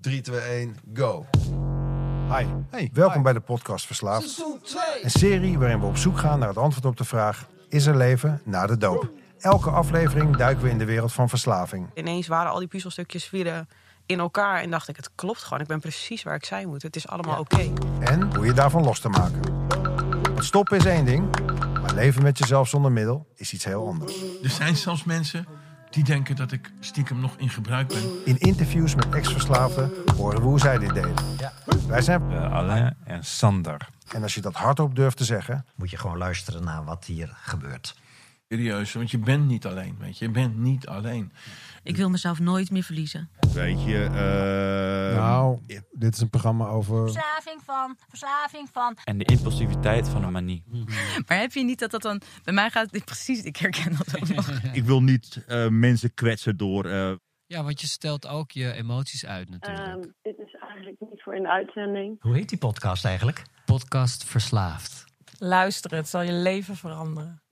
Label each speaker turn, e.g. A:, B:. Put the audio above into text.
A: 3, 2, 1, go.
B: Hi, welkom bij de podcast Verslaafd. Een serie waarin we op zoek gaan naar het antwoord op de vraag... is er leven na de doop? Elke aflevering duiken we in de wereld van verslaving.
C: ineens waren al die puzzelstukjes weer in elkaar. En dacht ik, het klopt gewoon. Ik ben precies waar ik zijn moet. Het is allemaal oké.
B: En hoe je daarvan los te maken. Want stoppen is één ding, maar leven met jezelf zonder middel is iets heel anders.
D: Er zijn zelfs mensen die denken dat ik stiekem nog in gebruik ben.
B: In interviews met ex-verslaafden horen we hoe zij dit deden. Wij zijn...
E: Eh, Alain en Sander.
B: En als je dat hardop durft te zeggen...
F: moet je gewoon luisteren naar wat hier gebeurt.
D: Serieus, want je bent niet alleen, weet je. Je bent niet alleen.
G: Ik wil mezelf nooit meer verliezen.
E: Weet je, eh,
B: Nou, dit is een programma over...
H: verslaving van, verslaving van.
I: En de impulsiviteit van een manie.
G: Maar heb je niet dat dat dan... Bij mij gaat het precies... Ik herken dat ook nog.
E: ik wil niet eh, mensen kwetsen door. eh,
J: Ja, want je stelt ook je emoties uit natuurlijk.
K: Ehm, dit is eigenlijk niet voor een uitzending.
F: Hoe heet die podcast eigenlijk?
J: Podcast Verslaafd.
C: Luisteren, het zal je leven veranderen.